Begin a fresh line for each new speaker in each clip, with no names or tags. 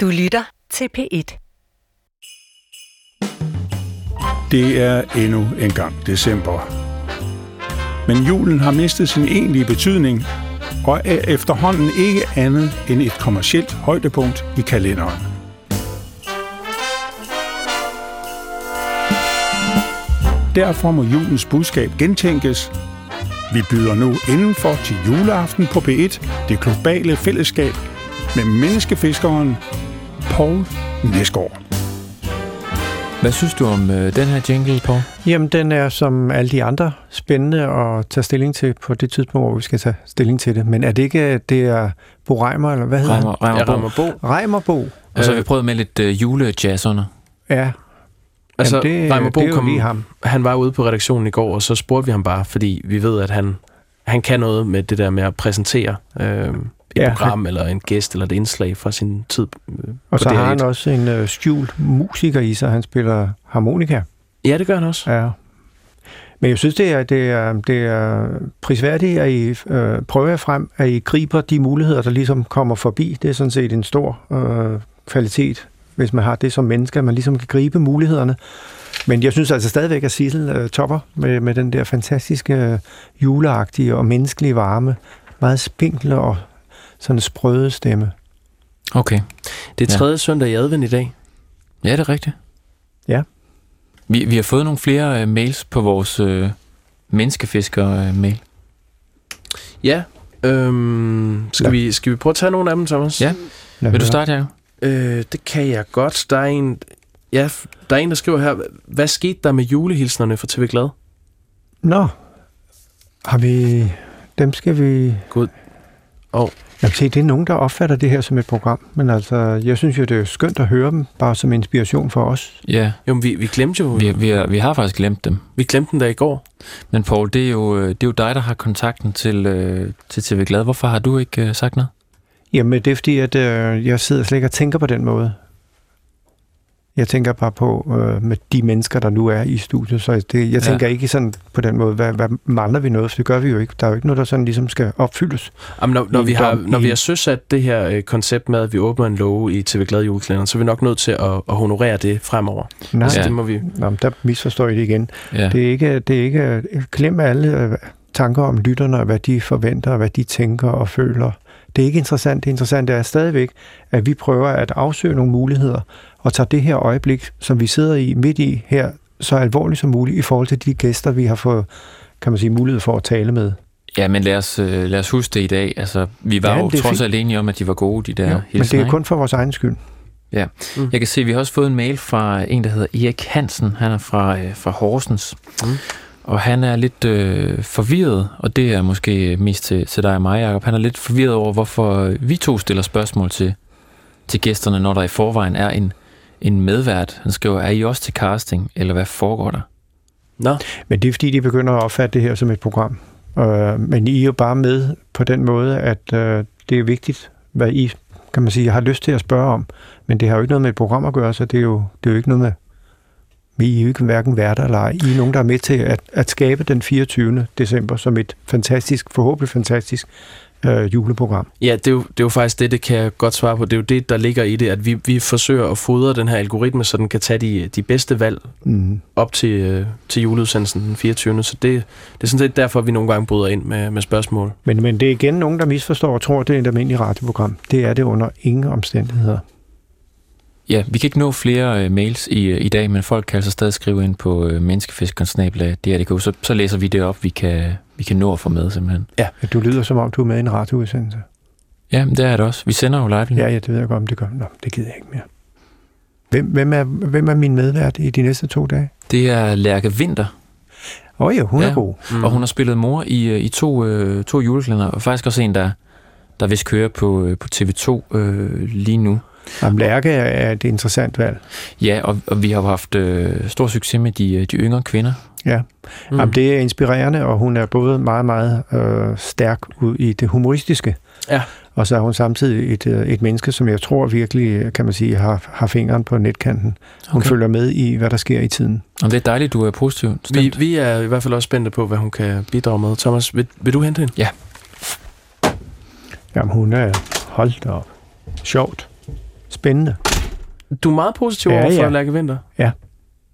Du lytter til P1.
Det er endnu en gang december. Men julen har mistet sin egentlige betydning og er efterhånden ikke andet end et kommercielt højdepunkt i kalenderen. Derfor må julens budskab gentænkes. Vi byder nu indenfor til juleaften på B1 det globale fællesskab med menneskefiskeren Paul Næsgaard.
Hvad synes du om øh, den her jingle, på?
Jamen, den er som alle de andre spændende at tage stilling til på det tidspunkt, hvor vi skal tage stilling til det. Men er det ikke, det er Bo Reimer, eller hvad hedder
Reimer, Reimer,
Jeg
Bo.
rammer Bo.
han? Reimerbo.
Og så har vi prøvet med lidt øh, julejazz under.
Ja,
Altså,
Jamen, det, øh,
Reimer Bo
det er jo
kom-
lige ham.
Han var ude på redaktionen i går, og så spurgte vi ham bare, fordi vi ved, at han, han kan noget med det der med at præsentere øh, et
Ja.
ja. program, eller en gæst, eller et indslag fra sin tid. øh,
Og
på
så har
DR1.
han også en øh, skjult musiker i sig, han spiller harmonika.
Ja, det gør han også.
Ja. Men jeg synes, det er, det er, det er prisværdigt, at I øh, prøver jer frem, at I griber de muligheder, der ligesom kommer forbi. Det er sådan set en stor øh, kvalitet, hvis man har det som menneske, at man ligesom kan gribe mulighederne. Men jeg synes altså stadigvæk, at Sissel øh, topper med, med den der fantastiske øh, juleagtige og menneskelige varme. Meget spinkle og sådan sprøde stemme.
Okay.
Det
Ja.
er tredje søndag i advent i dag.
Ja, det er rigtigt.
Ja.
Vi, vi har fået nogle flere øh, mails på vores øh, menneskefisker-mail.
Ja. Øhm, skal,
Ja.
ja. Vi, skal vi prøve at tage nogle af dem, Thomas?
Ja.
Lad
Vil du
høre.
starte, Jacob?
Øh, det kan jeg godt. Der er en... Ja, f- der er en, der skriver her, hvad skete der med julehilsnerne fra TV Glad?
Nå, har vi... Dem skal vi
Gud. Åh.
Jeg kan se, det er nogen, der opfatter det her som et program, men altså, jeg synes jo, det er skønt at høre dem, bare som inspiration for os.
Ja,
Jo, men vi, vi glemte jo...
vi, vi, har, vi har faktisk glemt dem.
Vi glemte den der i går.
Men Paul, det er jo, øh, det er jo dig, der har kontakten til, øh, til TV Glad. Hvorfor har du ikke øh, sagt noget?
Jamen, det er fordi, at øh, jeg sidder slet ikke og tænker på den måde. Jeg tænker bare på øh, med de mennesker, der nu er i studiet, så det, jeg
Ja.
tænker ikke sådan på den måde, hvad, hvad mangler vi noget, for det gør vi jo ikke. Der er jo ikke noget, der sådan ligesom skal opfyldes.
Jamen, når, når,
I
vi har,
dom-
når
i-
vi har søsat det her øh, koncept med, at vi åbner en låge i TV Glad julekalenderen, så er vi nok nødt til at, at honorere det fremover.
Nej,
Altså,
ja.
det må vi...
Nå, men der misforstår I det igen.
Ja.
Det er ikke, det er ikke glem alle øh, tanker om lytterne, og hvad de forventer, og hvad de tænker og føler. Det er ikke interessant. Det interessante er stadigvæk, at vi prøver at afsøge nogle muligheder, og tager det her øjeblik, som vi sidder i midt i her, så alvorligt som muligt i forhold til de gæster, vi har fået kan man sige, mulighed for at tale med.
ja, men lad os, øh, lad os huske det i dag. Altså, vi var
Ja,
ja, jo
det er
trods
fint.
alt enige om, at de var gode, de der ja,
men
hilsner.
det er kun for vores egen skyld.
Jeg kan se, at vi har også fået en mail fra en, der hedder Erik Hansen. Han er fra, øh, fra Horsens. Mm.
Mm.
Og han er lidt øh, forvirret, og det er måske mest til, til dig og mig, Jacob. Han er lidt forvirret over, hvorfor vi to stiller spørgsmål til, til gæsterne, når der i forvejen er en, en medvært. Han skriver, er I også til casting, eller hvad foregår der?
Nå,
Men det er fordi, de begynder at opfatte det her som et program. Øh, men I er jo bare med på den måde, at øh, det er vigtigt, hvad I kan man sige, har lyst til at spørge om. Men det har jo ikke noget med et program at gøre, så det er jo, det er jo ikke noget med... Men I er jo ikke hverken værter eller ej. I er nogen, der er med til at, at skabe den 24. december som et fantastisk, forhåbentlig fantastisk øh, juleprogram.
ja, det er, jo, det er jo faktisk det, det kan jeg godt svare på. Det er jo det, der ligger i det, at vi, vi forsøger at fodre den her algoritme, så den kan tage de, de bedste valg
Mm.
op til, øh, til juleudsendelsen den 24. Så det, det er sådan set derfor, vi nogle gange bryder ind med, med spørgsmål.
Men, men det er igen nogen, der misforstår og tror, det er et almindeligt radioprogram. Det er det under ingen omstændigheder.
Ja, vi kan ikke nå flere øh, mails i, øh, i dag, men folk kan altså stadig skrive ind på øh, menneskefiskeren-dr.dk, så, så læser vi det op, vi kan, vi kan nå at få med simpelthen.
Du lyder, som om du er med i en radioudsendelse.
Ja, men det er det også. Vi sender jo live. lige nu.
Ja, ja, det ved jeg godt, om det gør. Nå, det gider jeg ikke mere. Hvem, hvem, er, hvem er min medvært i de næste to dage?
Det er Lærke Vinter,
Åh oh, ja, hun ja.
Ja.
er god.
Mm.
Mm. Og hun har spillet mor i, øh, i to, øh, to juleklænder, og faktisk også en, der, der vist kører på, øh, på TV2 øh, lige nu.
Jamen, Lærke er er et interessant valg.
Ja, og, og vi har jo haft øh, stor succes med de, øh, de yngre kvinder.
Ja. Mm. Jamen, det er inspirerende, og hun er både meget, meget øh, stærk ud i det humoristiske,
Ja.
og så er hun samtidig et, øh, et menneske, som jeg tror virkelig, kan man sige, har, har fingeren på netkanten. Hun okay. følger med i, hvad der sker i tiden.
Og det er dejligt, du er positiv.
Vi,
Vi...
vi er i hvert fald også spændte på, hvad hun kan bidrage med. Thomas, vil, vil du hente hende?
Jamen, hun er holdt op. Sjovt. spændende.
Du er meget positiv
Ja,
ja, over for
ja.
ja. Lærke Vinter.
Ja.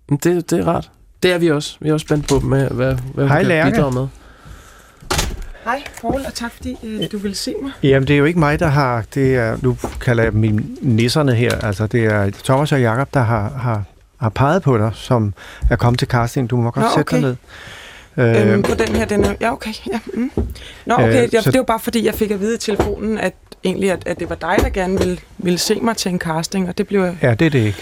Men Det, det er rart. Det er vi også. Vi er også spændt på, med, hvad, hvad
Hej,
hun kan
Lærke.
bidrage med.
Hej Paul, og tak fordi øh, du ville se mig.
Jamen, det er jo ikke mig, der har... Det er, nu kalder jeg dem nisserne her. Altså, det er Thomas og Jakob der har, har, har peget på dig, som er kommet til casting. Du må godt
Nå,
sætte dig
okay.
ned.
Øhm,
Øh,
på den her, den er... Ja, okay. Ja, mm. Nå, okay.
Øh,
Øh, jeg,
så-
Det var bare fordi, jeg fik at vide i telefonen, at egentlig, at, at det var dig, der gerne ville, ville se mig til en casting, og det blev jeg...
ja, det er det ikke.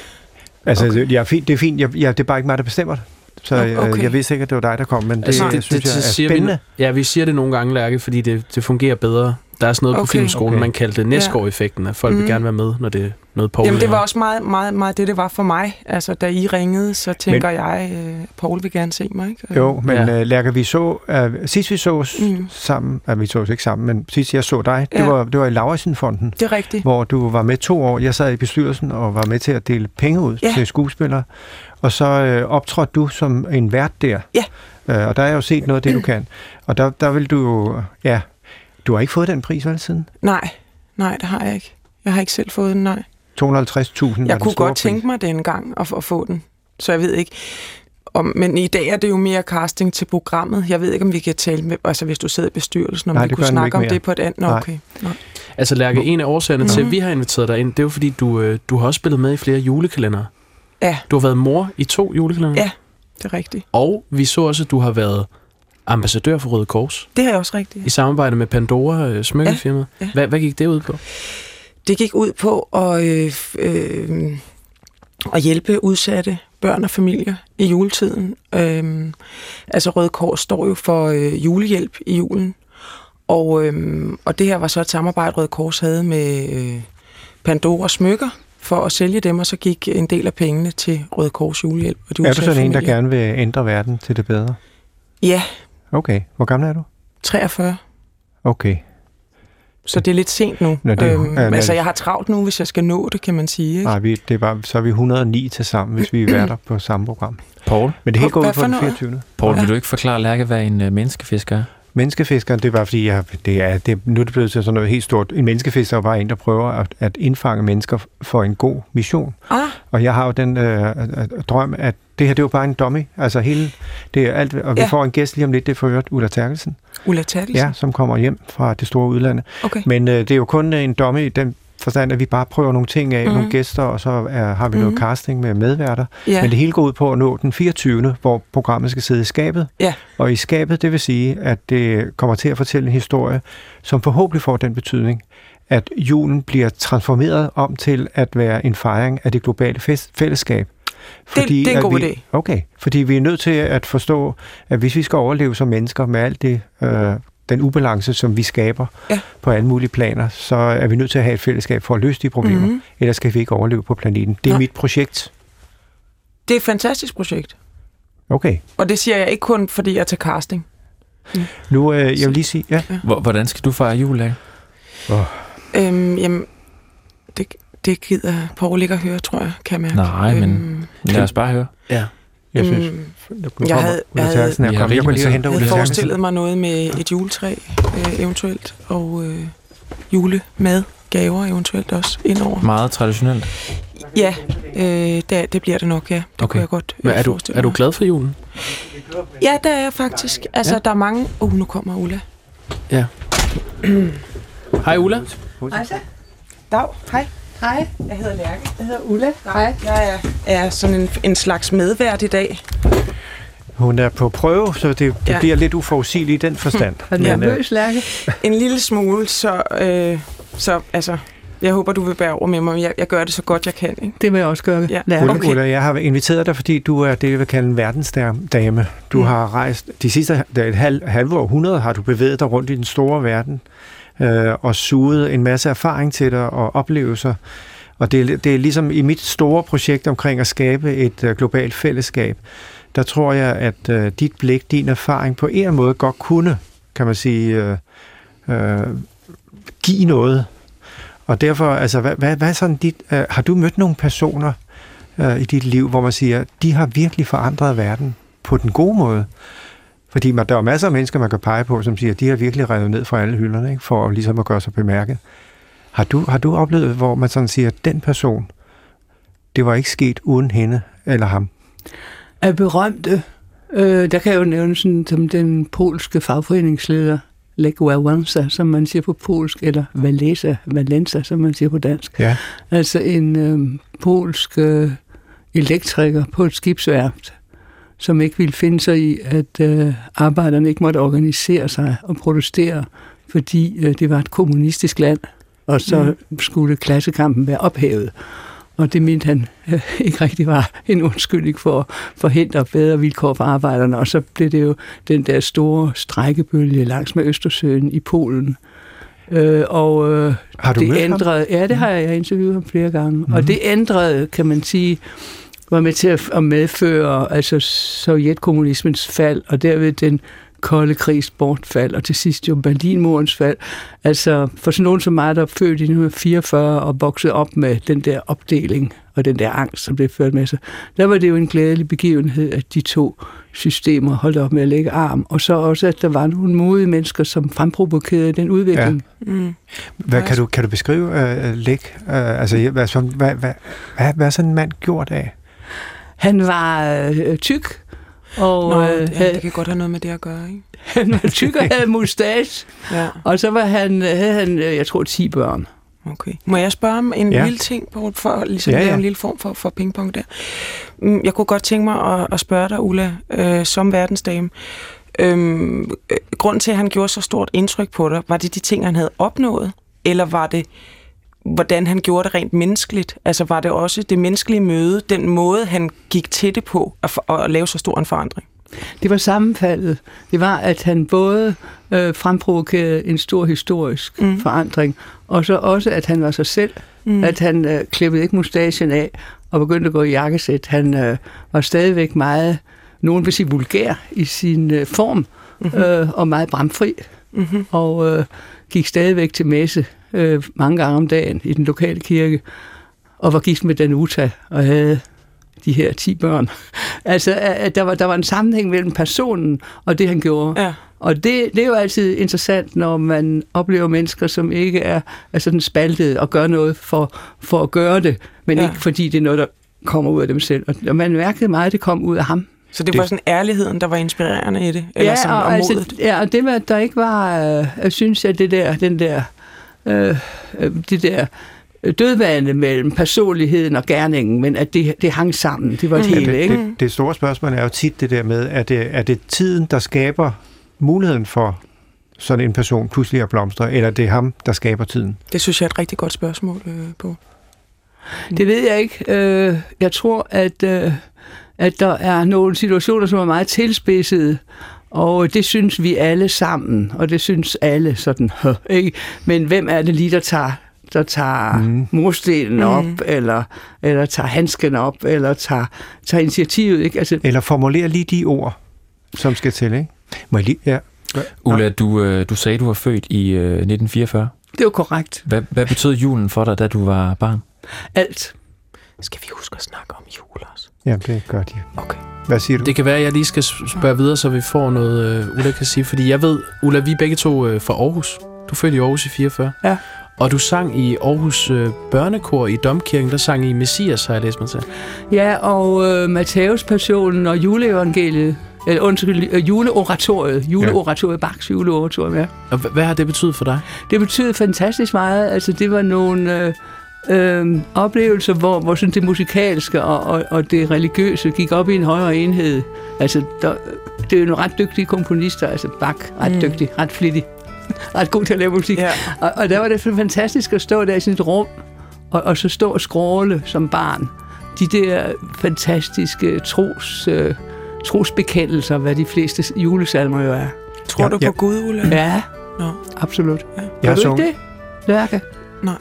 Altså, okay. det, jeg er fint, det er fint. Jeg, jeg, det er bare ikke mig, der bestemmer det. Så
Nå,
okay.
okay.
jeg vidste ikke, at det var dig, der kom, men det,
Altså,
altså, det synes det, jeg er
siger
spændende.
Vi, ja, vi siger det nogle gange, Lærke, fordi det, det fungerer bedre. Der er sådan noget okay. på
Okay.
filmskolen,
Okay.
okay. man kaldte det næstgård-effekten, at folk mm. vil
Mm.
gerne være med, når det er noget Paul
Jamen, det var
laver.
også meget, meget, meget det, det var for mig. Altså, da I ringede, så tænker Men... jeg, øh, Paul vil gerne se mig, ikke? Og-
Jo, men
Ja.
ja. Lærke, vi så... Uh, sidst vi sås mm.
Mm.
sammen... Uh, vi sås ikke sammen, men sidst jeg så dig, ja. det,
Ja.
var, det var i Lauritsen-fonden.
Det er rigtigt.
hvor du var med to år. Jeg sad i bestyrelsen og var med til at dele penge ud ja.
Ja.
til skuespillere. Og så øh, optrådte du som en vært der.
Ja.
Øh, og der har jeg jo set noget af det, du kan. Og der, der vil du jo... Ja, du har ikke fået den pris vel siden?
Nej, nej, det har jeg ikke. Jeg har ikke selv fået den, nej.
250.000 var
Jeg
den
kunne
store
godt tænke mig det en gang at, at få den, så jeg ved ikke. Om, men i dag er det jo mere casting til programmet. Jeg ved ikke, om vi kan tale med, altså hvis du sidder i bestyrelsen, om
Nej,
Nej, vi
det
kunne
gør den ikke
snakke om
mere.
det på et andet. Nå,
Nej.
okay. Nej.
Altså, Lærke, en af årsagerne mm. til, at
Mhm.
vi har inviteret dig ind, det er jo fordi, du, øh, du har også spillet med i flere julekalendere.
Ja.
Du har været mor i to julekalendere.
Ja. Det er rigtigt.
Og vi så også, at du har været ambassadør for Røde Kors
Det er også rigtigt.
i samarbejde med Pandora øh, smykkefirmaet. Ja,
Ja,
ja.
ja.
Hvad, hvad gik det ud på?
Det gik ud på at, øh, f- øh, at hjælpe udsatte børn og familier i juletiden. Øh, altså Røde Kors står jo for øh, julehjælp i julen. Og, øh, og det her var så et samarbejde, Røde Kors havde med øh, Pandora Smykker for at sælge dem, og så gik en del af pengene til Røde Kors julehjælp. Og de
Er du
udsatte
sådan en, der
familier.
gerne vil ændre verden til det bedre?
Ja,
Okay. Hvor gammel er du?
43.
Okay.
Så det er lidt sent nu.
Nå, det er-
øhm,
ja, men-
altså, jeg har travlt nu, hvis jeg skal nå det, kan man sige. Ikke?
Nej, vi, det er bare, så er vi 109 til sammen, hvis vi er værter på samme program.
Paul,
Men det hele
Hvor-
går ud
hvad
på
for
den
noget?
24.
Paul ja.
Ja.
vil du ikke forklare Lærke, hvad en øh, menneskefisker er?
Menneskefiskeren, det var fordi, jeg, det er, det, nu er det blevet til sådan noget helt stort. En menneskefisker er jo bare en, der prøver at, at indfange mennesker f- for en god mission.
Ah,
Og jeg har jo den øh, øh, øh, drøm, at det her, det er jo bare en dummy. Altså hele, det er alt, og vi ja.
Ja.
får en gæst lige om lidt, det er for øvrigt Ulla Terkelsen,
Ulla Terkelsen.
ja, som kommer hjem fra det store udlandet.
Okay.
Men øh, det er jo kun en dummy i den forstand, at vi bare prøver nogle ting af, mm.
Mhm.
nogle gæster, og så er, har vi mm. noget
Mhm.
casting med medværter.
Ja.
Men det hele går ud på at nå den 24., hvor programmet skal sidde i skabet.
Ja.
Og i skabet, det vil sige, at det kommer til at fortælle en historie, som forhåbentlig får den betydning, at julen bliver transformeret om til at være en fejring af det globale fest- fællesskab.
det er en
at
god
vi,
idé.
Okay, fordi vi er nødt til at forstå, at hvis vi skal overleve som mennesker med alt det, øh, den ubalance, som vi skaber
Ja.
på alle mulige planer, så er vi nødt til at have et fællesskab for at løse de problemer. Mm-hmm.
Mhm.
Ellers kan vi ikke overleve på planeten. Det er Nej.
Nej.
mit projekt.
Det er et fantastisk projekt.
Okay.
Og det siger jeg ikke kun, fordi jeg er til casting.
Nu, øh, jeg vil lige sige, ja,
Hvor, hvordan skal du fejre jul, Lærke?
Øhm, jamen, det, det gider Paul ikke at høre, tror jeg, kan jeg mærke.
Nej, men- Lad os bare høre.
jeg synes,
øhm,
nu kommer
jeg havde-
Ulla
jeg havde-
Terkelsen er
Vi har
kommet. Jeg
rigeligt
kunne
med
lige
tid.
hente
jeg
Ulla
havde
Terkelsen.
forestillet mig noget med et juletræ øh, eventuelt, og øh, julemad, gaver eventuelt også indover.
Meget traditionelt.
Ja, øh, det, det bliver det nok, ja. Det
Okay.
okay. kunne jeg godt øh,
Men er, du,
forestille
er du
mig.
glad for julen?
Ja, der er jeg faktisk. Altså, ja. der er mange... Uh, nu kommer Ulla.
Hej Ulla.
Dag, hej.
Hej,
Jeg hedder Lærke.
jeg hedder Ulla. Hej.
Jeg er, er sådan en, en slags medvært i dag.
Hun er på prøve, så det, det ja.
Ja.
bliver lidt uforudsigeligt i den forstand.
Er du
Men, øh,
nervøs, Lærke?
En lille smule, så, øh, så altså, jeg håber, du vil bære over med mig. Jeg, jeg gør det så godt, jeg kan. Ikke?
Det vil jeg også gøre,
Ja.
Lærke.
Ulla,
Okay.
Ulla, jeg har inviteret dig, fordi du er det, jeg vil kalde en verdensdame. Du mm.
Mm.
har rejst, de sidste der er et halv, halve århundrede har du bevæget dig rundt i den store verden, øh, og suget en masse erfaring til dig og oplevelser. Og det, er- det er ligesom i mit store projekt omkring at skabe et øh, globalt fællesskab, der tror jeg, at øh, dit blik, din erfaring på en eller anden måde godt kunne, kan man sige, øh, øh, give noget. Og derfor, altså, hvad, hvad, hvad er sådan dit, øh, har du mødt nogle personer øh, i dit liv, hvor man siger, de har virkelig forandret verden på den gode måde? Fordi man, der er jo masser af mennesker, man kan pege på, som siger, de har virkelig revet ned fra alle hylderne, ikke? for ligesom at gøre sig bemærket. Har du, har du oplevet, hvor man sådan siger, at den person, det var ikke sket uden hende eller ham?
Af berømte, øh, der kan jeg jo nævne sådan, som den polske fagforeningsleder, Lech Wałęsa, som man siger på polsk, eller Valenza, Valenza, som man siger på dansk.
Ja.
Altså en øh, polsk øh, elektriker på et skibsværft, som ikke ville finde sig i, at øh, arbejderne ikke måtte organisere sig og protestere, fordi øh, det var et kommunistisk land, og så mm. skulle klassekampen være ophævet. Og det mente han øh, ikke rigtig var en undskyldning for at forhindre bedre vilkår for arbejderne. Og så blev det jo den der store strækkebølge langs med Østersøen i Polen. Øh, og øh,
Har du
det
mødt ham? Mm.
ændrede, Ja, det har jeg, jeg har interviewet ham flere gange. Mm. Og det ændrede, kan man sige, var med til at at medføre altså sovjetkommunismens fald, og derved den kolde krigs bortfald, og til sidst jo Berlinmurens fald. Altså for sådan nogen som mig, der er født i 1944 og voksede op med den der opdeling og den der angst, som det førte med sig, der var det jo en glædelig begivenhed, at de to systemer holdt op med at lægge arm, og så også, at der var nogle modige mennesker, som fremprovokerede den udvikling.
Mm.
Hvad, kan, du, kan du beskrive uh, Lech? Uh, altså, ja, hvad, sådan- hvad, hvad, hvad, hvad er sådan en mand gjort af?
Han var øh, tyk, og
Nå,
øh,
ja,
havde,
det kan godt have noget med det at gøre, ikke?
han var tyk og havde mustache,
Ja,
og så var han, havde han, øh, jeg tror, 10 børn.
okay. Må jeg spørge om en
Ja.
ja. lille ting, Poul, for ligesom
Ja,
ja, ja.
ja.
en lille form for, for pingpong der? Mm, Jeg kunne godt tænke mig at, at spørge dig, Ulla, øh, som verdensdame. Øhm, øh, grunden til, at han gjorde så stort indtryk på dig, var det de ting, han havde opnået? Eller var det, hvordan han gjorde det rent menneskeligt? Altså var det også det menneskelige møde, den måde, han gik til det på, at, for, at lave så stor en forandring?
Det var sammenfaldet. Det var, at han både øh, fremprovokerede en stor historisk
Mhm.
mm.
Mm-hmm.
forandring, og så også, at han var sig selv. Mm. At han øh, klippede ikke mustachen af og begyndte at gå i jakkesæt. Han øh, var stadigvæk meget, nogen vil sige vulgær i sin øh, form, mm-hmm.
Mhm.
øh, og meget bramfri. Mm-hmm. Og øh, gik stadigvæk til messe øh, mange gange om dagen i den lokale kirke, og var gift med Danuta, og havde de her 10 børn. Altså, at at der var, der var en sammenhæng mellem personen og det, han gjorde.
Ja.
Og det, det er jo altid interessant, når man oplever mennesker, som ikke er, er sådan spaltet og gør noget for, for at gøre det, men
Ja.
ja. ikke fordi det er noget, der kommer ud af dem selv. Og- Og man mærkede meget, at det kom ud af ham.
Så det, det var sådan ærligheden, der var inspirerende i det? Eller sådan, og, altså,
og, altså,
modet?
ja, og det med, at der ikke var, øh, jeg synes jeg, det der, den der, øh, øh, det der øh, dødvande mellem personligheden og gerningen, men at det, det hang sammen. Det var et hele,
Mm. det,
ikke?
det, det store spørgsmål er jo tit det der med, at det, er det tiden, der skaber muligheden for sådan en person pludselig at blomstre, eller det er ham, der skaber tiden?
Det synes jeg er et rigtig godt spørgsmål øh, på.
Det ved jeg ikke. Øh, jeg tror, at, øh, at der er nogle situationer, som er meget tilspidsede, og det synes vi alle sammen, og det synes alle sådan. Ikke? Men hvem er det lige, der tager der tager mm. murstenen op, mm. eller, eller tager handsken op, eller tager, tager initiativet. Ikke? Altså,
Eller formulere lige de ord, som skal til, ikke? Må jeg lige? Ja.
Ulla, du, øh, du sagde, du var født i øh, 1944.
det er jo korrekt.
Hvad, hvad betød julen for dig, da du var barn?
Alt.
Skal vi huske at snakke om jul også?
Jamen, det gør de.
Okay.
Hvad siger du?
Det kan være, at jeg lige skal spørge videre, så vi får noget, øh, Ulla kan sige. Fordi jeg ved, Ulla, vi er begge to øh, fra Aarhus. Du er født i Aarhus i 44.
Ja.
Og du sang i Aarhus øh, Børnekor i Domkirken. Der sang I Messias, har jeg læst mig til.
Ja, og øh, Matthæus passionen og juleevangeliet, eller undskyld, øh, juleoratoriet, juleoratoriet, Bachs juleoratorium, ja.
Og h- hvad har det betydet for dig?
Det betød fantastisk meget. Altså, det var nogle øh, øh, oplevelser, hvor, hvor sådan det musikalske og, og, og det religiøse gik op i en højere enhed. Altså, der, det er jo nogle ret dygtige komponister. Altså, Bach, ret mm. dygtig, ret flittig, ret god til at lave musik.
Ja.
Og, og der var det så fantastisk at stå der i sådan et rum, og, og så stå og skråle som barn. De der fantastiske tros, øh, trosbekendelser, hvad de fleste julesalmer jo er.
Tror
Ja,
ja, du
ja.
ja. på Gud, Ulla?
Ja,
Nå.
absolut.
Ja.
Ja.
Jeg
Har du
sung-
ikke det, Lærke?
Nej.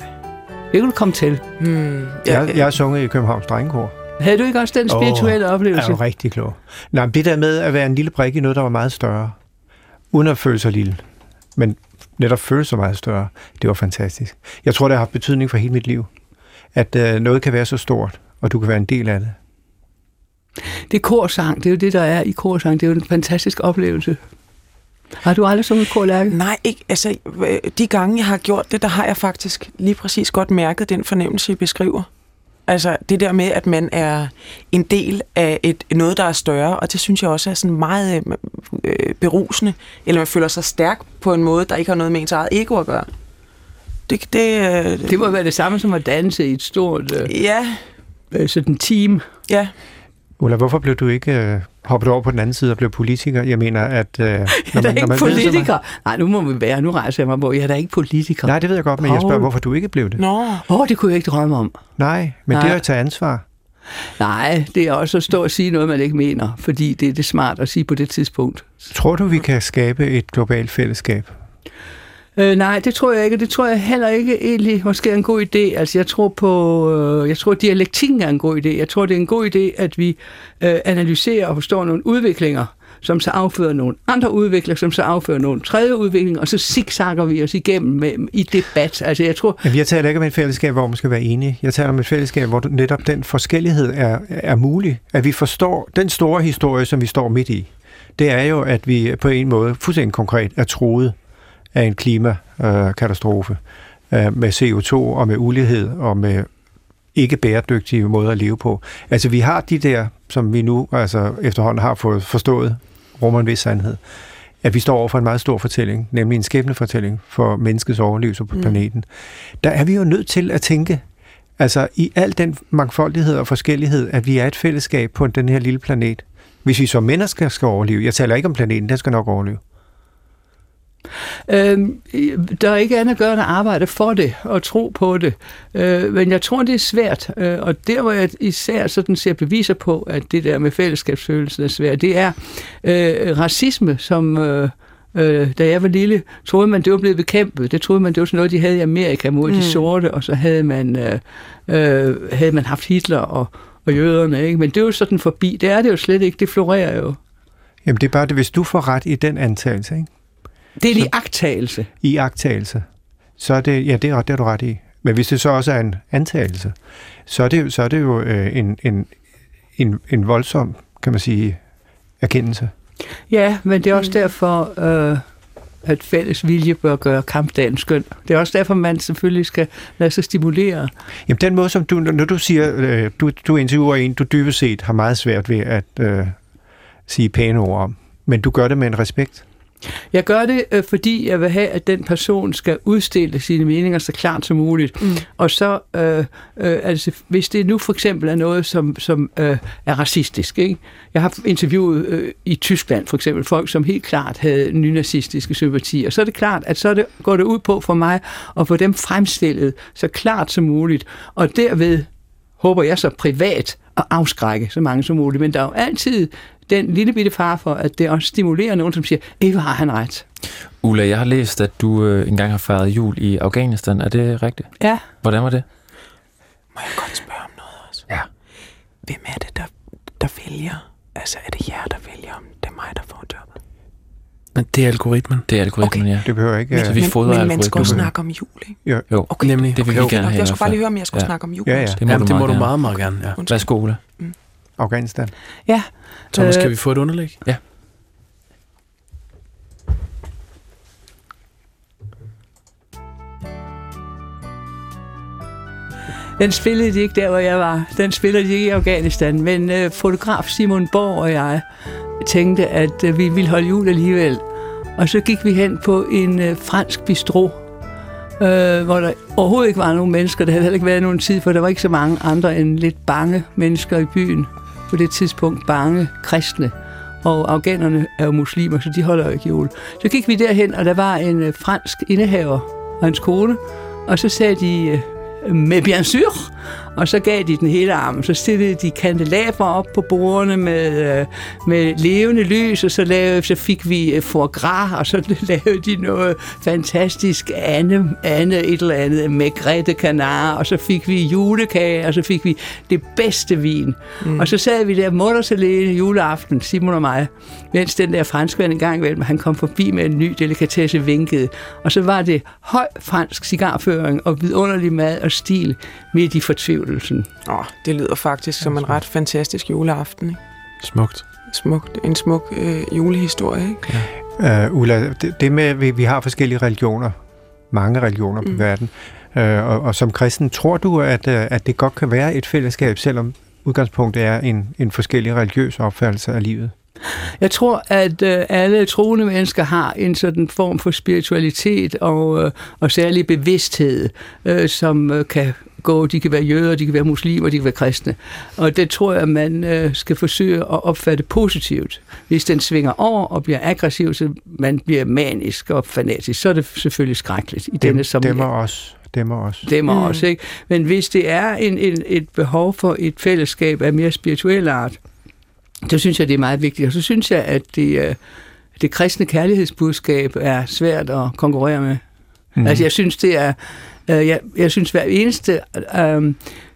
Det kunne du komme til.
Hmm.
Jeg, jeg har sunget i Københavns Drengekor.
Havde du ikke også den
Åh,
spirituelle oh,
er
oplevelse?
jo rigtig klog. Nej, men det der med at være en lille brik i noget, der var meget større, uden at føle sig lille, men netop føle sig meget større, det var fantastisk. Jeg tror, det har haft betydning for hele mit liv, at øh, noget kan være så stort, og du kan være en del af det.
Det er korsang, det er jo det, der er i korsang. Det er jo en fantastisk oplevelse. Har du aldrig sunget kor lærke?
Nej, ikke. Altså, øh, de gange, jeg har gjort det, der har jeg faktisk lige præcis godt mærket den fornemmelse, I beskriver. Altså det der med, at man er en del af et, noget, der er større, og det synes jeg også er sådan meget øh, berusende, eller man føler sig stærk på en måde, der ikke har noget med ens eget ego at gøre. Det, det, øh,
Det må være det samme som at danse i et stort øh,
Ja,
øh, sådan team.
ja.
Ulla, hvorfor blev du ikke øh, hoppet over på den anden side og blev politiker? Jeg mener, at... Øh, når
Jeg er da ikke
ved det,
politiker. Nej, nu må vi være. Nu rejser jeg mig på. Jeg er da ikke politiker.
Nej, det ved jeg godt, men jeg spørger,
Paul.
hvorfor du ikke blev det?
Nå,
Åh, oh, det kunne jeg ikke drømme om.
Nej, men Nej. det
Nej.
er at tage ansvar.
Nej, det er også at stå og sige noget, man ikke mener, fordi det er det smart at sige på det tidspunkt.
Tror du, vi kan skabe et globalt fællesskab?
Øh, nej, det tror jeg ikke, og det tror jeg heller ikke egentlig måske er en god idé. Altså, jeg tror på, øh, jeg tror, dialektikken er en god idé. Jeg tror, det er en god idé, at vi øh, analyserer og forstår nogle udviklinger, som så affører nogle andre udviklinger, som så affører nogle tredje udviklinger, og så zigzagger vi os igennem med, i debat. Altså, jeg tror,
Jamen, jeg taler ikke om et fællesskab, hvor man skal være enige. Jeg taler om et fællesskab, hvor du- netop den forskellighed er, er mulig. At vi forstår den store historie, som vi står midt i. Det er jo, at vi på en måde fuldstændig konkret er troet af en klimakatastrofe øh, med CO2 og med ulighed og med ikke bæredygtige måder at leve på. Altså, vi har de der, som vi nu altså, efterhånden har fået forstået, rummer en vis sandhed, at vi står over for en meget stor fortælling, nemlig en skæbnefortælling for menneskets overlevelse på
Mm.
planeten der er vi jo nødt til at tænke, altså i al den mangfoldighed og forskellighed, at vi er et fællesskab på den her lille planet. Hvis vi som mennesker skal overleve, jeg taler ikke om planeten, den skal nok overleve.
Øhm, der er ikke andet at gøre end at arbejde for det og tro på det. Øh, men jeg tror, det er svært. Øh, og der, hvor jeg især sådan ser beviser på, at det der med fællesskabsfølelsen er svært, det er øh, racisme, som... Øh, Øh, da jeg var lille, troede man, det var blevet bekæmpet. Det troede man, det var sådan noget, de havde i Amerika mod mm.
Mm.
de sorte, og så havde man, øh, øh, havde man haft Hitler og, og jøderne. Ikke? Men det er jo sådan forbi. Det er det jo slet ikke. Det florerer jo.
Jamen det er bare det, hvis du får ret i den antagelse, ikke?
Det er en iagttagelse.
i agtagelse, så er det, ja, det er, det er du ret i. Men hvis det så også er en antagelse, så er det, jo- så er det jo øh, en, en, en, en voldsom, kan man sige, erkendelse.
Ja, men det er også
Mm.
mm. derfor, øh, at fælles vilje bør gøre kampdagen skøn. Det er også derfor, man selvfølgelig skal lade sig stimulere.
Jamen den måde, som du, når du siger, øh, du, du interviewer en, du dybest set har meget svært ved at øh, sige pæne ord om, men du gør det med en respekt.
Jeg gør det, øh, fordi jeg vil have, at den person skal udstille sine meninger så klart som muligt.
Mm.
Og så, øh, øh, altså, hvis det nu for eksempel er noget, som, som øh, er racistisk. Ikke? Jeg har interviewet øh, i Tyskland for eksempel folk, som helt klart havde nynazistiske sympatier. Så er det klart, at så er det, går det ud på for mig at få dem fremstillet så klart som muligt. Og derved håber jeg så privat at afskrække så mange som muligt. Men der er jo altid den lille bitte far for, at det også stimulerer nogen, som siger, ikke har han ret.
Ulla, jeg har læst, at du øh, engang har fejret jul i Afghanistan. Er det rigtigt?
Ja.
Hvordan var det?
Må jeg godt spørge om noget også?
Ja.
Hvem er det, der, der vælger? Altså, er det jer, der vælger, om det er mig, der får jobbet?
Men det er algoritmen.
Det er algoritmen, okay. ja.
Det behøver ikke...
Så
Øh,
vi
men,
fodrer
men man skal også
algoritmen.
snakke om jul, ikke?
Jo,
Okay.
Nemlig.
det vil vi
Jo.
gerne have.
Jeg
i
skulle
hvert
bare
fald.
lige høre, om jeg skulle
Ja.
ja. snakke om jul.
Ja, ja.
også.
Det må,
Jamen,
du,
det må
meget
du meget,
gerne.
meget gerne. Ja.
Undskyld.
Værsgo, Ulla.
Afghanistan.
Thomas,
Øh,
kan vi få et underlæg?
Den spillede de ikke der, hvor jeg var. Den spiller de ikke i Afghanistan. Men øh, fotograf Simon Borg og jeg tænkte, at øh, vi ville holde jul alligevel. Og så gik vi hen på en øh, fransk bistro, øh, hvor der overhovedet ikke var nogen mennesker. Der havde heller ikke været nogen tid, for der var ikke så mange andre end lidt bange mennesker i byen. På det tidspunkt bange kristne. Og afghanerne er jo muslimer, så de holder jo ikke jul. Så gik vi derhen, og der var en øh, fransk indehaver og hans kone. Og så sagde de, øh, med bien sûr. Og så gav de den hele armen. Så stillede de kandelaber op på bordene med, øh, med levende lys, og så, lavede, så fik vi øh, foie gras, og så lavede de noget fantastisk Anne, Anne et eller andet med Grete Canar, og så fik vi julekage, og så fik vi det bedste vin. Mm. Og så sad vi der mutters alene juleaften, Simon og mig, mens den der franskmand engang imellem, han kom forbi med en ny delikatesse vinkede. Og så var det høj fransk cigarføring og vidunderlig mad og stil midt i fortvivlelsen.
Åh, det lyder faktisk som en ret fantastisk juleaften, ikke?
Smukt.
smukt, en smuk øh, julehistorie. Ikke?
Uh, Ulla, det, det med, at vi, vi har forskellige religioner, mange religioner mm.
Mm.
på verden, uh, og, og som kristen, tror du, at, øh, at det godt kan være et fællesskab, selvom udgangspunktet er en, en forskellig religiøs opfattelse af livet?
Jeg tror, at øh, alle troende mennesker har en sådan form for spiritualitet og, øh, og særlig bevidsthed, øh, som øh, kan gå, de kan være jøder, de kan være muslimer, de kan være kristne. Og det tror jeg, man øh, skal forsøge at opfatte positivt. Hvis den svinger over og bliver aggressiv, så man bliver manisk og fanatisk, så er det selvfølgelig skrækkeligt i denne som
Dem og os. Dem og os.
stemmer
Mm.
mm. også, ikke? Men hvis det er en, en, et behov for et fællesskab af mere spirituel art, så synes jeg, det er meget vigtigt. Og så synes jeg, at det, øh, det kristne kærlighedsbudskab er svært at konkurrere med. Mm. Altså, jeg synes, det er... Øh, jeg, jeg synes, hver eneste øh,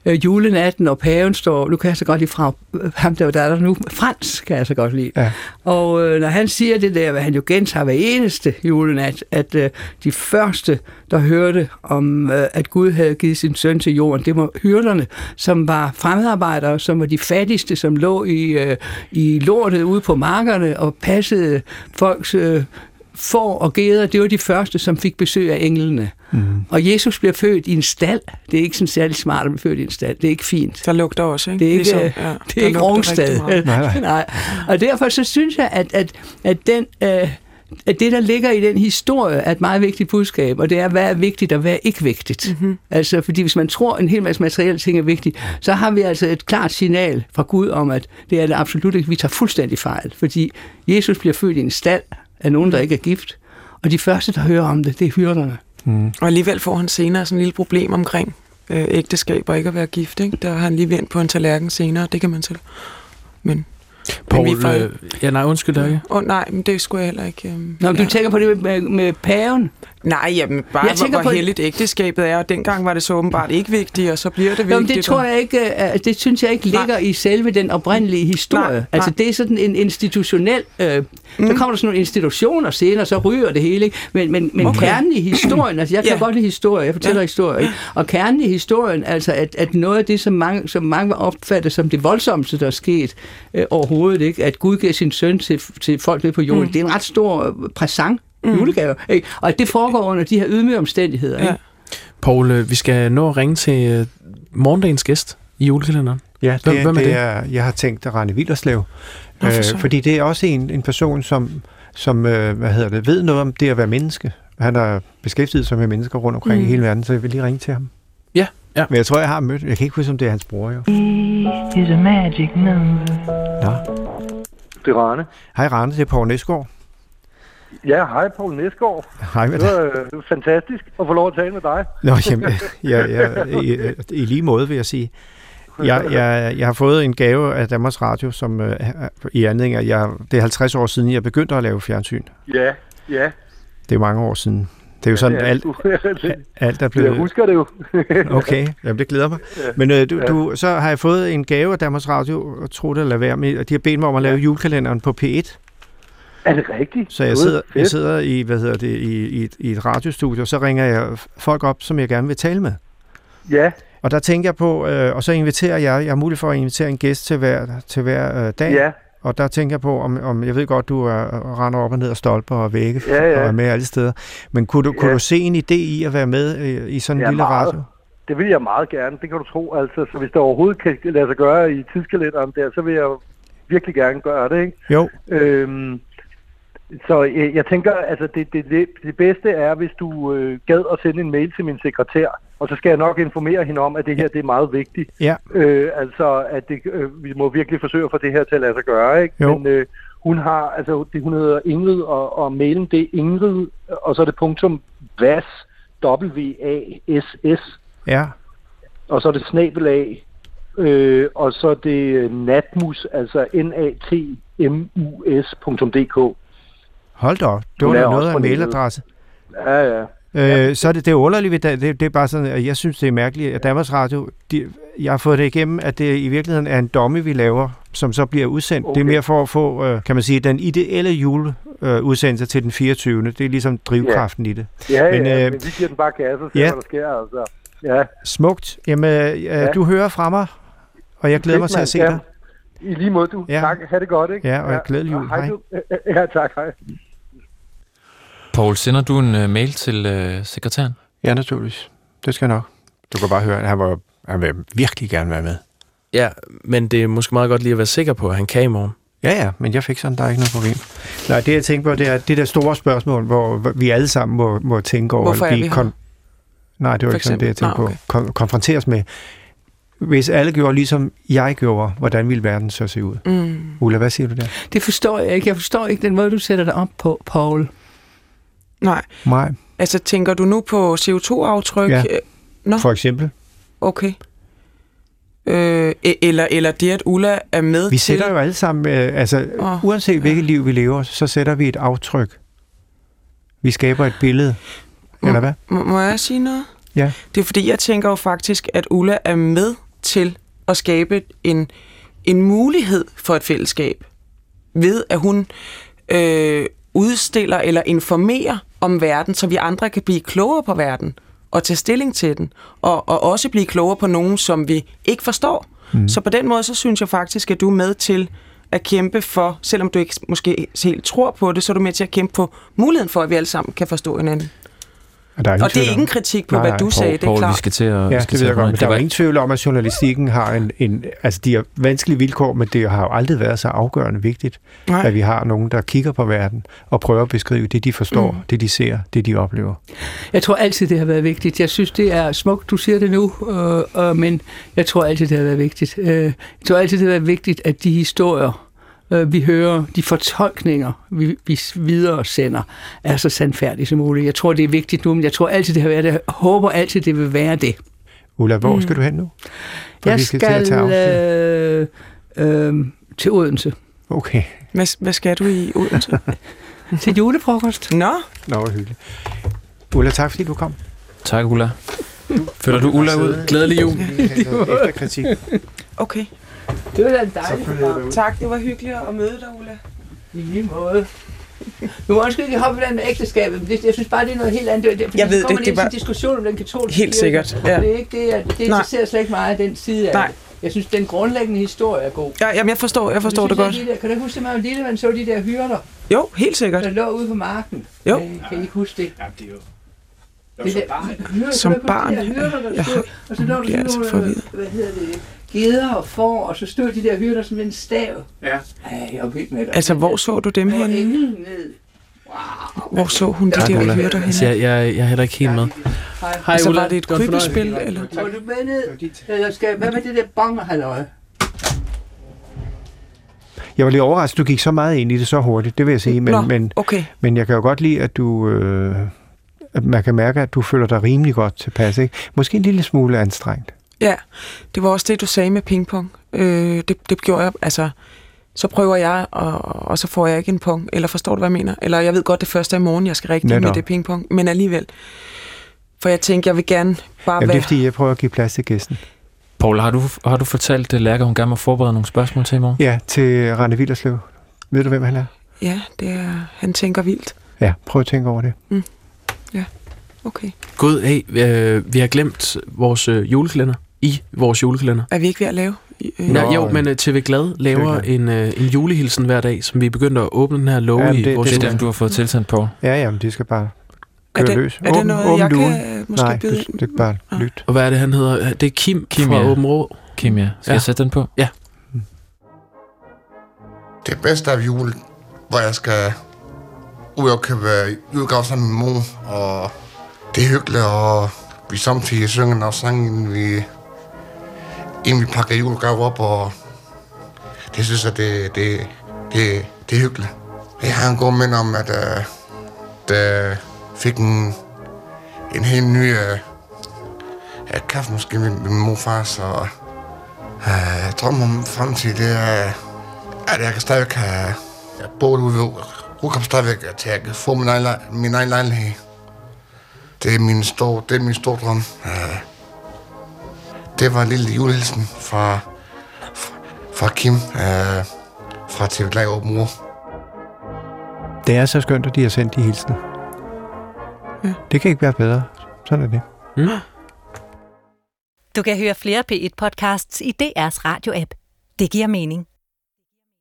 øh, julenatten, og paven står... Nu kan jeg så godt lide fra øh, ham, der, der er der nu. Frans kan jeg så godt lide.
Ja.
Og øh, når han siger det der, hvad han jo gentager hver eneste julenat, at øh, de første, der hørte om, øh, at Gud havde givet sin søn til jorden, det var hyrderne, som var fremmedarbejdere, som var de fattigste, som lå i, øh, i lortet ude på markerne og passede folks øh, får og geder. Det var de første, som fik besøg af englene. Mm. Og Jesus bliver født i en stald. Det er ikke sådan særlig smart at blive født i en stald. Det er ikke fint.
Der lugter også, ikke? Ligesom,
Det er ikke, øh,
ja,
Det
der
er ikke
lugter
Rungsted.
rigtig meget.
Nej,
Nej. Og derfor så synes jeg, at, at, at, den, øh, at det, der ligger i den historie, er et meget vigtigt budskab, og det er, hvad er vigtigt og hvad er ikke vigtigt.
Mhm.
Mm-hmm. Altså, fordi hvis man tror, en hel masse materielle ting er vigtigt, så har vi altså et klart signal fra Gud om, at det er det absolut ikke. Vi tager fuldstændig fejl, fordi Jesus bliver født i en stald af nogen, der ikke er gift, og de første, der hører om det, det er hyrderne.
Mm.
Og alligevel får han senere sådan en lille problem omkring øh, ægteskab og ikke at være gift. Ikke? Der har han lige vendt på en tallerken senere, det kan man selv. Men,
Poul,
men vi får-
øh, ja, nej, undskyld, Løkke.
Åh oh, nej, men det skulle jeg heller ikke... Øh,
Nå, men
ja.
du tænker på det med, med, med paven.
Nej, jamen bare,
Jeg
jeg
tænker
hvor, hvor
på-
heldigt ægteskabet er, og dengang var det så åbenbart ikke vigtigt, og så bliver det
Nå,
vigtigt.
men det tror jeg ikke, øh, det synes jeg ikke
Nej.
ligger i selve den oprindelige historie.
Nej,
altså
nej.
det er sådan en institutionel, øh, mm. der kommer der sådan nogle institutioner senere, så ryger det hele, ikke? Men, men, men okay.
Okay.
kernen i historien, altså jeg kan
Ja.
godt lide historie, jeg fortæller ja. historie, ikke? og kernen i historien, altså at, at noget af det, som mange, som mange var opfattet som det voldsomste, der er sket øh, overhovedet, ikke? at Gud gav sin søn til, til folk nede på jorden, mm. det er en ret stor øh, præsent, mm. julegave, ikke? og at det foregår under de her ydmyge omstændigheder. Ikke?
Ja.
Poul, øh, vi skal nå at ringe til øh, morgendagens gæst i julekalenderen.
Ja,
Hvem-
det,
hvem er
er, det
det?
er, jeg har tænkt Rane Villerslev.
Nå, for
øh,
søren.
fordi det er også en, en person, som, som øh, hvad hedder det, ved noget om det at være menneske. Han har beskæftiget sig med mennesker rundt omkring mm. i hele verden, så jeg vil lige ringe til ham.
Ja, ja.
Men jeg tror, jeg har mødt... Jeg kan ikke huske, om det er hans bror, jo.
is a magic number.
Det er Rane.
Hej, Rane. Det er Poul Næsgaard.
Ja, hej Poul Næsgaard.
Hej med
Det
dig.
var øh, fantastisk at få lov at tale med dig.
Nå, jamen, ja, ja, i, i lige måde vil jeg sige. Jeg, jeg, jeg har fået en gave af Danmarks Radio, som øh, er- i anledning af, at jeg, det er 50 år siden, jeg begyndte at lave fjernsyn.
Ja, ja. Det
Det er mange år siden. Det er jo sådan,
er
alt,
du.
alt er
jeg
blevet...
husker det jo.
Okay, jamen det glæder mig. Men øh, du, du, så har jeg fået en gave af Danmarks Radio, og tro det eller være med, og de har bedt mig om at lave julekalenderen på P1.
er det rigtigt?
Så jeg
Gud,
sidder, jeg
fedt.
sidder i, hvad hedder det, i, i, et- i et radiostudie, og så ringer jeg f- folk op, som jeg gerne vil tale med.
Ja,
Og der tænker jeg på, øh, og så inviterer jeg, jeg har mulighed for at invitere en gæst til hver, til hver øh, dag.
ja,
Og der tænker jeg på, om, om jeg ved godt, du er, render op og ned og stolper og vægge
Ja, ja.
og er med alle steder. Men kunne du, kunne
Ja.
du se en idé i at være med øh, i sådan en
Ja,
lille
meget.
radio?
det vil jeg meget gerne. Det kan du tro. Altså, så hvis det overhovedet kan lade sig gøre i tidskalenderen der, så vil jeg virkelig gerne gøre det, ikke?
Jo,
Øhm, så øh, jeg tænker, altså det, det, det, det bedste er, hvis du øh, gad at sende en mail til min sekretær, og så skal jeg nok informere hende om, at det her det er meget vigtigt.
Ja.
Øh, altså, at det, øh, vi må virkelig forsøge at få det her til at lade sig gøre, ikke?
Jo.
Men øh, hun har, altså det, hun hedder Ingrid, og, og mailen det er Ingrid, og så er det punktum VAS, W-A-S-S,
ja.
og så er det snabelag, øh, og så er det øh, natmus, altså n-a-t-m-u-s.dk.
Hold da op. Det
Hun
var
er
da
også
noget af
på
en
nettet.
mailadresse.
Ja, ja.
Øh, så er det, det er underligt, ved Dan- det, det er bare sådan, at jeg synes, det er mærkeligt, at Danmarks Radio, de, jeg har fået det igennem, at det i virkeligheden er en domme, vi laver, som så bliver udsendt. Okay. Det er
Okay.
mere for at få, øh, kan man sige, den ideelle juleudsendelse til den 24. Det er ligesom drivkraften i det.
Ja,
Men,
men, ja,
øh,
øh, men vi giver den bare gas og ser,
ja.
ja. hvad der sker. Altså. Ja,
Smukt. Jamen, øh, ja.
Ja.
du hører fra mig, og jeg glæder mig
Fedt,
til at
mand.
se
Ja.
dig.
I lige måde, du.
Ja.
Ja. Tak. Ha' det godt, ikke?
Ja, og glædelig jul.
Hej.
Hej.
du. Ja, tak. Hej.
Poul, sender du en uh, mail til uh, sekretæren?
Ja, naturligvis. Det skal jeg nok. Du kan bare høre, at han, var, han vil virkelig gerne være med.
Ja, men det er måske meget godt lige at være sikker på, at han kan i morgen.
Ja, ja, men jeg fik sådan, der er ikke noget problem. Nej, det jeg tænker på, det er det der store spørgsmål, hvor hvor vi alle sammen må, må tænke over,
Hvorfor er
blive
vi her?
Nej, det var
For
ikke sådan det, jeg tænkte
eksempel.
på. Kon- konfronteres med. Hvis alle gjorde ligesom jeg gjorde, hvordan ville verden så se ud?
Mm.
Ulla, hvad siger du der?
Det forstår jeg ikke. Jeg forstår ikke den måde, du sætter dig op på, Paul.
Nej,
Nej,
altså tænker du nu på CO2-aftryk?
Ja.
Øh, Nå,
for eksempel.
okay. Øh, e- eller, eller det, at Ulla er med
Vi
til...
sætter jo alle sammen, øh, altså
Åh,
uanset hvilket liv vi lever, så sætter vi et aftryk. Vi skaber et billede.
Mm.
Eller hvad?
Må, må jeg sige noget?
Ja.
Det er fordi, jeg tænker jo faktisk, at Ulla er med til at skabe en, en mulighed for et fællesskab, ved at hun øh, udstiller eller informerer om verden, så vi andre kan blive klogere på verden og tage stilling til den, og, og også blive klogere på nogen, som vi ikke forstår. Mm. Så på den måde, så synes jeg faktisk, at du er med til at kæmpe for, selvom du ikke måske helt tror på det, så er du med til at kæmpe på muligheden for, at vi alle sammen kan forstå hinanden.
Og, der er ingen
Og det
tvivl
er
om-
ingen kritik på,
Nej,
nej,
nej,
hvad du
Poul-
sagde, det er
Poul, vi
klart.
skal til at... vi
Ja,
skal til
det ved
at
jeg godt,
runde.
men
det
der
var
er ingen tvivl om, at journalistikken har en, en... Altså, de har vanskelige vilkår, men det har jo aldrig været så afgørende vigtigt,
Nej.
at vi har nogen, der kigger på verden og prøver at beskrive det, de forstår, mm. det, de ser, det, de oplever.
Jeg tror altid, det har været vigtigt. Jeg synes, det er smukt, du siger det nu, øh, øh, men jeg tror altid, det har været vigtigt. Øh, jeg tror altid, det har været vigtigt, at de historier, øh, vi hører, de fortolkninger, vi, vi videre sender, er så sandfærdige som muligt. Jeg tror, det er vigtigt nu, men jeg tror altid, det har været det. Jeg håber altid, det vil være det.
Ulla, hvor mm. skal du hen nu? For
jeg
vi
skal,
til at tage afsked.
øh, øh, til Odense.
Okay,
Hvad, hvad skal du i Odense?
til julefrokost.
Nå,
nå, hvor hyggeligt. Ulla, tak fordi du kom.
Tak, Ulla. Føler du Ulla ud? Glædelig jul.
Efter kritik.
okay.
Det var da en dejlig program.
Tak, det var hyggeligt at møde dig, Ulla.
I lige måde. Nu må måske ikke hoppe i den med ægteskabet, men det, jeg synes bare, det er noget helt andet. Det, er- fordi
Jeg ved
så kommer
det,
det,
det
var...
var-
en diskussion om den katolske
Helt
kirke,
sikkert,
Ja.
ja.
Det, er ikke det, at det interesserer slet ikke meget af den side af
Nej.
det. Jeg synes, den grundlæggende historie er god.
Ja, jamen, jeg forstår, jeg forstår
Men
det
synes
godt.
jeg, de Der, kan du ikke huske, at man var lille, man så de der hyrder,
Jo, helt sikkert.
der lå ude på marken?
Jo.
Øh, Kan I ikke huske det?
Ja, det er jo...
det som der, barn.
Som barn.
Hyrder, der
Jeg
stod, og så lå der
bliver altså
sådan nogle,
forvirret.
hvad hedder det, geder og får, og så stod de der hyrder som en stav.
Ja.
Ej, jeg er vild med det.
Altså, hvor så du dem
Hvor
henne?
englen ned.
Hvor så hun de
Tak, Ulla.
der hyrder henne?
Jeg, jeg, jeg er heller ikke helt med.
Hej.
Altså, var det et krybespil, eller?
Må du med ned? Eller skal, hvad med det der bong, halløj?
Jeg var lidt overrasket, du gik så meget ind i det så hurtigt, det vil jeg sige, men,
Nå,
men,
okay.
men jeg kan jo godt lide, at du... Øh, at man kan mærke, at du føler dig rimelig godt tilpas, ikke? Måske en lille smule anstrengt.
Ja, det var også det, du sagde med pingpong. Øh, det, det gjorde jeg, altså, så prøver jeg, og, og så får jeg ikke en pong, eller forstår du, hvad jeg mener? Eller jeg ved godt, det første er i morgen, jeg skal rigtig med
Netop.
det pingpong, men alligevel. For jeg tænkte, jeg vil gerne bare
Jamen, det er
være...
fordi, jeg prøver at give plads til gæsten.
Paul, har du, har du fortalt uh, Lærke, at hun gerne må forberede nogle spørgsmål til i morgen?
Ja, til Rane Villerslev. Ved du, hvem han er?
Ja, det er, han tænker vildt.
Ja, prøv at tænke over det.
Okay.
Gud, hey, øh, vi har glemt vores øh, julekalender. I vores julekalender.
Er vi ikke ved at lave? Øh,
Nå,
Nå,
jo,
øh,
men øh, TV Glad laver
TV
en, øh, en julehilsen hver dag, som vi er begyndt at åbne den her låge
Jamen,
i
det-
vores
det-
Det
jule.
er den, du har fået tilsendt, Paul.
Ja, jamen, det skal bare
er
køre
det,
løs.
er det noget, jeg
lugen.
kan øh, måske
Nej,
byde
det,
ind?
det er bare
Ah.
lyt.
Og hvad er det, han hedder? Det er Kim, Kim
Kim,
fra
ja.
Åben Rå.
Kim, ja. Skal
Ja.
jeg sætte den på?
det bedste af jul, hvor jeg skal ud og købe julegaver sammen med min mor, og det er hyggeligt, og vi samtidig synger nogle sange, inden vi, inden vi pakker julegaver op, og det synes jeg, det, det, det, det er hyggeligt. Jeg har en god minde om, at øh, da jeg fik en, en helt ny øh, øh, kaffemaskine med min morfar, så øh, jeg drømmer om fremtid, det er... Øh, at jeg kan stadigvæk have... Jeg bor ude ved Rukam stadigvæk, at jeg kan få min egen, lej- min egen lejlighed. Det er min store, det er min store drøm. Øh, Det var en lille julehilsen fra, fra- fra Kim, øh, fra TV Glad Åben Ur.
Det er så skønt, at de har sendt de hilsner.
Ja.
Det kan ikke være bedre. Sådan er det.
Du kan høre flere P1-podcasts i DR's radio-app. Det giver mening.